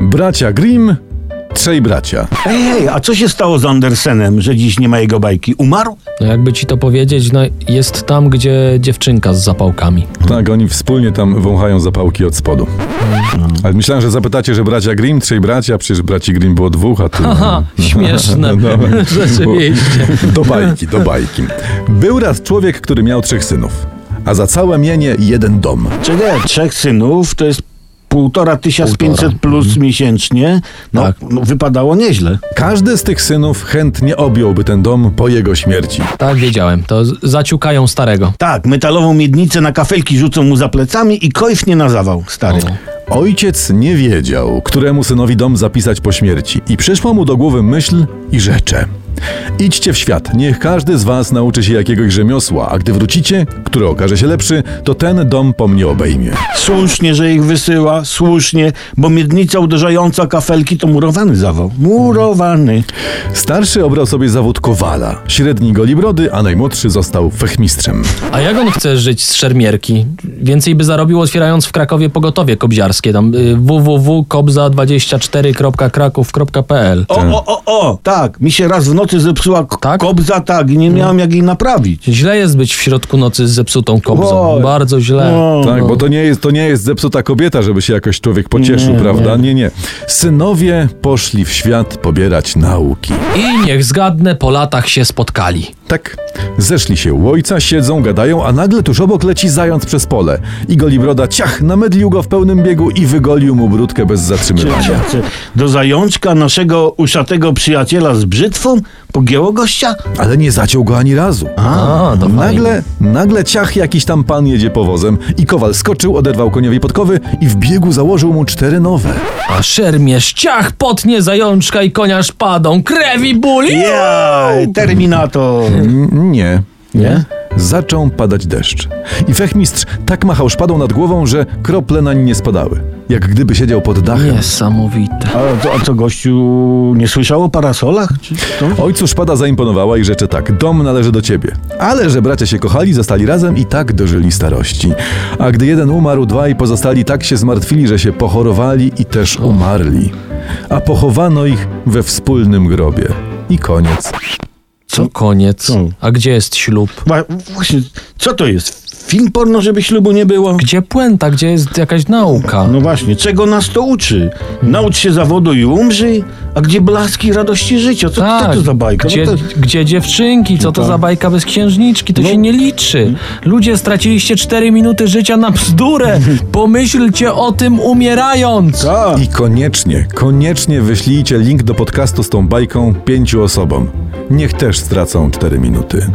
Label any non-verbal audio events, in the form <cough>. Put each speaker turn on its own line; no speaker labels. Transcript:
Bracia Grimm, trzej bracia.
Ej, a co się stało z Andersenem, że dziś nie ma jego bajki? Umarł?
No jakby ci to powiedzieć, no jest tam, gdzie dziewczynka z zapałkami.
Tak, oni wspólnie tam wąchają zapałki od spodu. Ale myślałem, że zapytacie, że bracia Grimm, trzej bracia, przecież braci Grimm było dwóch, a tu...
Aha,
<laughs>
<laughs> śmieszne.
dobra.
Rzeczywiście.
Do bajki, do bajki. Był raz człowiek, który miał trzech synów, a za całe mienie jeden dom.
Czekaj, trzech synów to jest półtora Mhm. tysiąc pięćset plus miesięcznie. No,
Tak.
no, wypadało nieźle.
Każdy z tych synów chętnie objąłby ten dom po jego śmierci.
Tak wiedziałem, to z- zaciukają starego.
Tak, metalową miednicę na kafelki rzucą mu za plecami i kojfnie na zawał, stary.
Ojciec nie wiedział, któremu synowi dom zapisać po śmierci i przyszła mu do głowy myśl i rzecze. Idźcie w świat, niech każdy z was nauczy się jakiegoś rzemiosła, a gdy wrócicie, który okaże się lepszy, to ten dom po mnie obejmie.
Słusznie, że ich wysyła, słusznie, bo miednica uderzająca kafelki to murowany zawał. Murowany.
Starszy obrał sobie zawód kowala, średni golibrody, a najmłodszy został fechmistrzem.
A jak on chce żyć z szermierki? Więcej by zarobił otwierając w Krakowie pogotowie kobziarskie, tam y, www.kobza24.kraków.pl.
O, o, o, o, tak, mi się raz w nocy zepsuła k-
Tak?
kobza, tak, i nie miałam jak jej naprawić.
Źle jest być w środku nocy z zepsutą kobzą.
Oj.
Bardzo źle.
No.
Tak, bo to nie, jest, to nie jest zepsuta kobieta, żeby się jakoś człowiek pocieszył, prawda? Nie. nie, Synowie poszli w świat pobierać nauki.
I niech zgadnę, po latach się spotkali.
Tak, zeszli się u ojca, siedzą, gadają, a nagle tuż obok leci zając przez pole. I golibroda ciach, namedlił go w pełnym biegu i wygolił mu brudkę bez zatrzymywania.
Do zajączka naszego uszatego przyjaciela z brzytwą pogięło gościa?
Ale nie zaciął go ani razu.
A, to fajnie.
Nagle, nagle ciach jakiś tam pan jedzie powozem i kowal skoczył, oderwał koniowi podkowy i w biegu założył mu cztery nowe.
A szermierz ciach potnie zajączka i konia szpadą. Krew i ból.
Jaj, Terminator.
N- Nie.
Nie?
Zaczął padać deszcz. I fechmistrz tak machał szpadą nad głową, że krople nań nie spadały. Jak gdyby siedział pod dachem.
Niesamowite.
A, to, a co gościu nie słyszał o parasolach? Czy to?
Ojcu szpada zaimponowała i rzeczy tak, dom należy do ciebie. Ale że bracia się kochali, zostali razem i tak dożyli starości. A gdy jeden umarł, dwaj pozostali tak się zmartwili, że się pochorowali i też umarli. A pochowano ich we wspólnym grobie. I koniec.
Co koniec?
No, Co?
A gdzie jest ślub?
Wa- Właśnie, co to jest? Film porno, żeby ślubu nie było?
Gdzie puenta? Gdzie jest jakaś nauka?
No właśnie, czego nas to uczy? Naucz się zawodu i umrzyj, a gdzie blaski radości życia? Co, co to za bajka?
Tak, Gdzie,
No to, No.
gdzie dziewczynki? Co to
Tak.
za bajka bez księżniczki? To się nie liczy. Ludzie straciliście 4 minuty życia na
<laughs>
bzdurę. Pomyślcie o tym umierając.
tak.
I koniecznie, koniecznie wyślijcie link do podcastu z tą bajką pięciu osobom. Niech też stracą cztery minuty.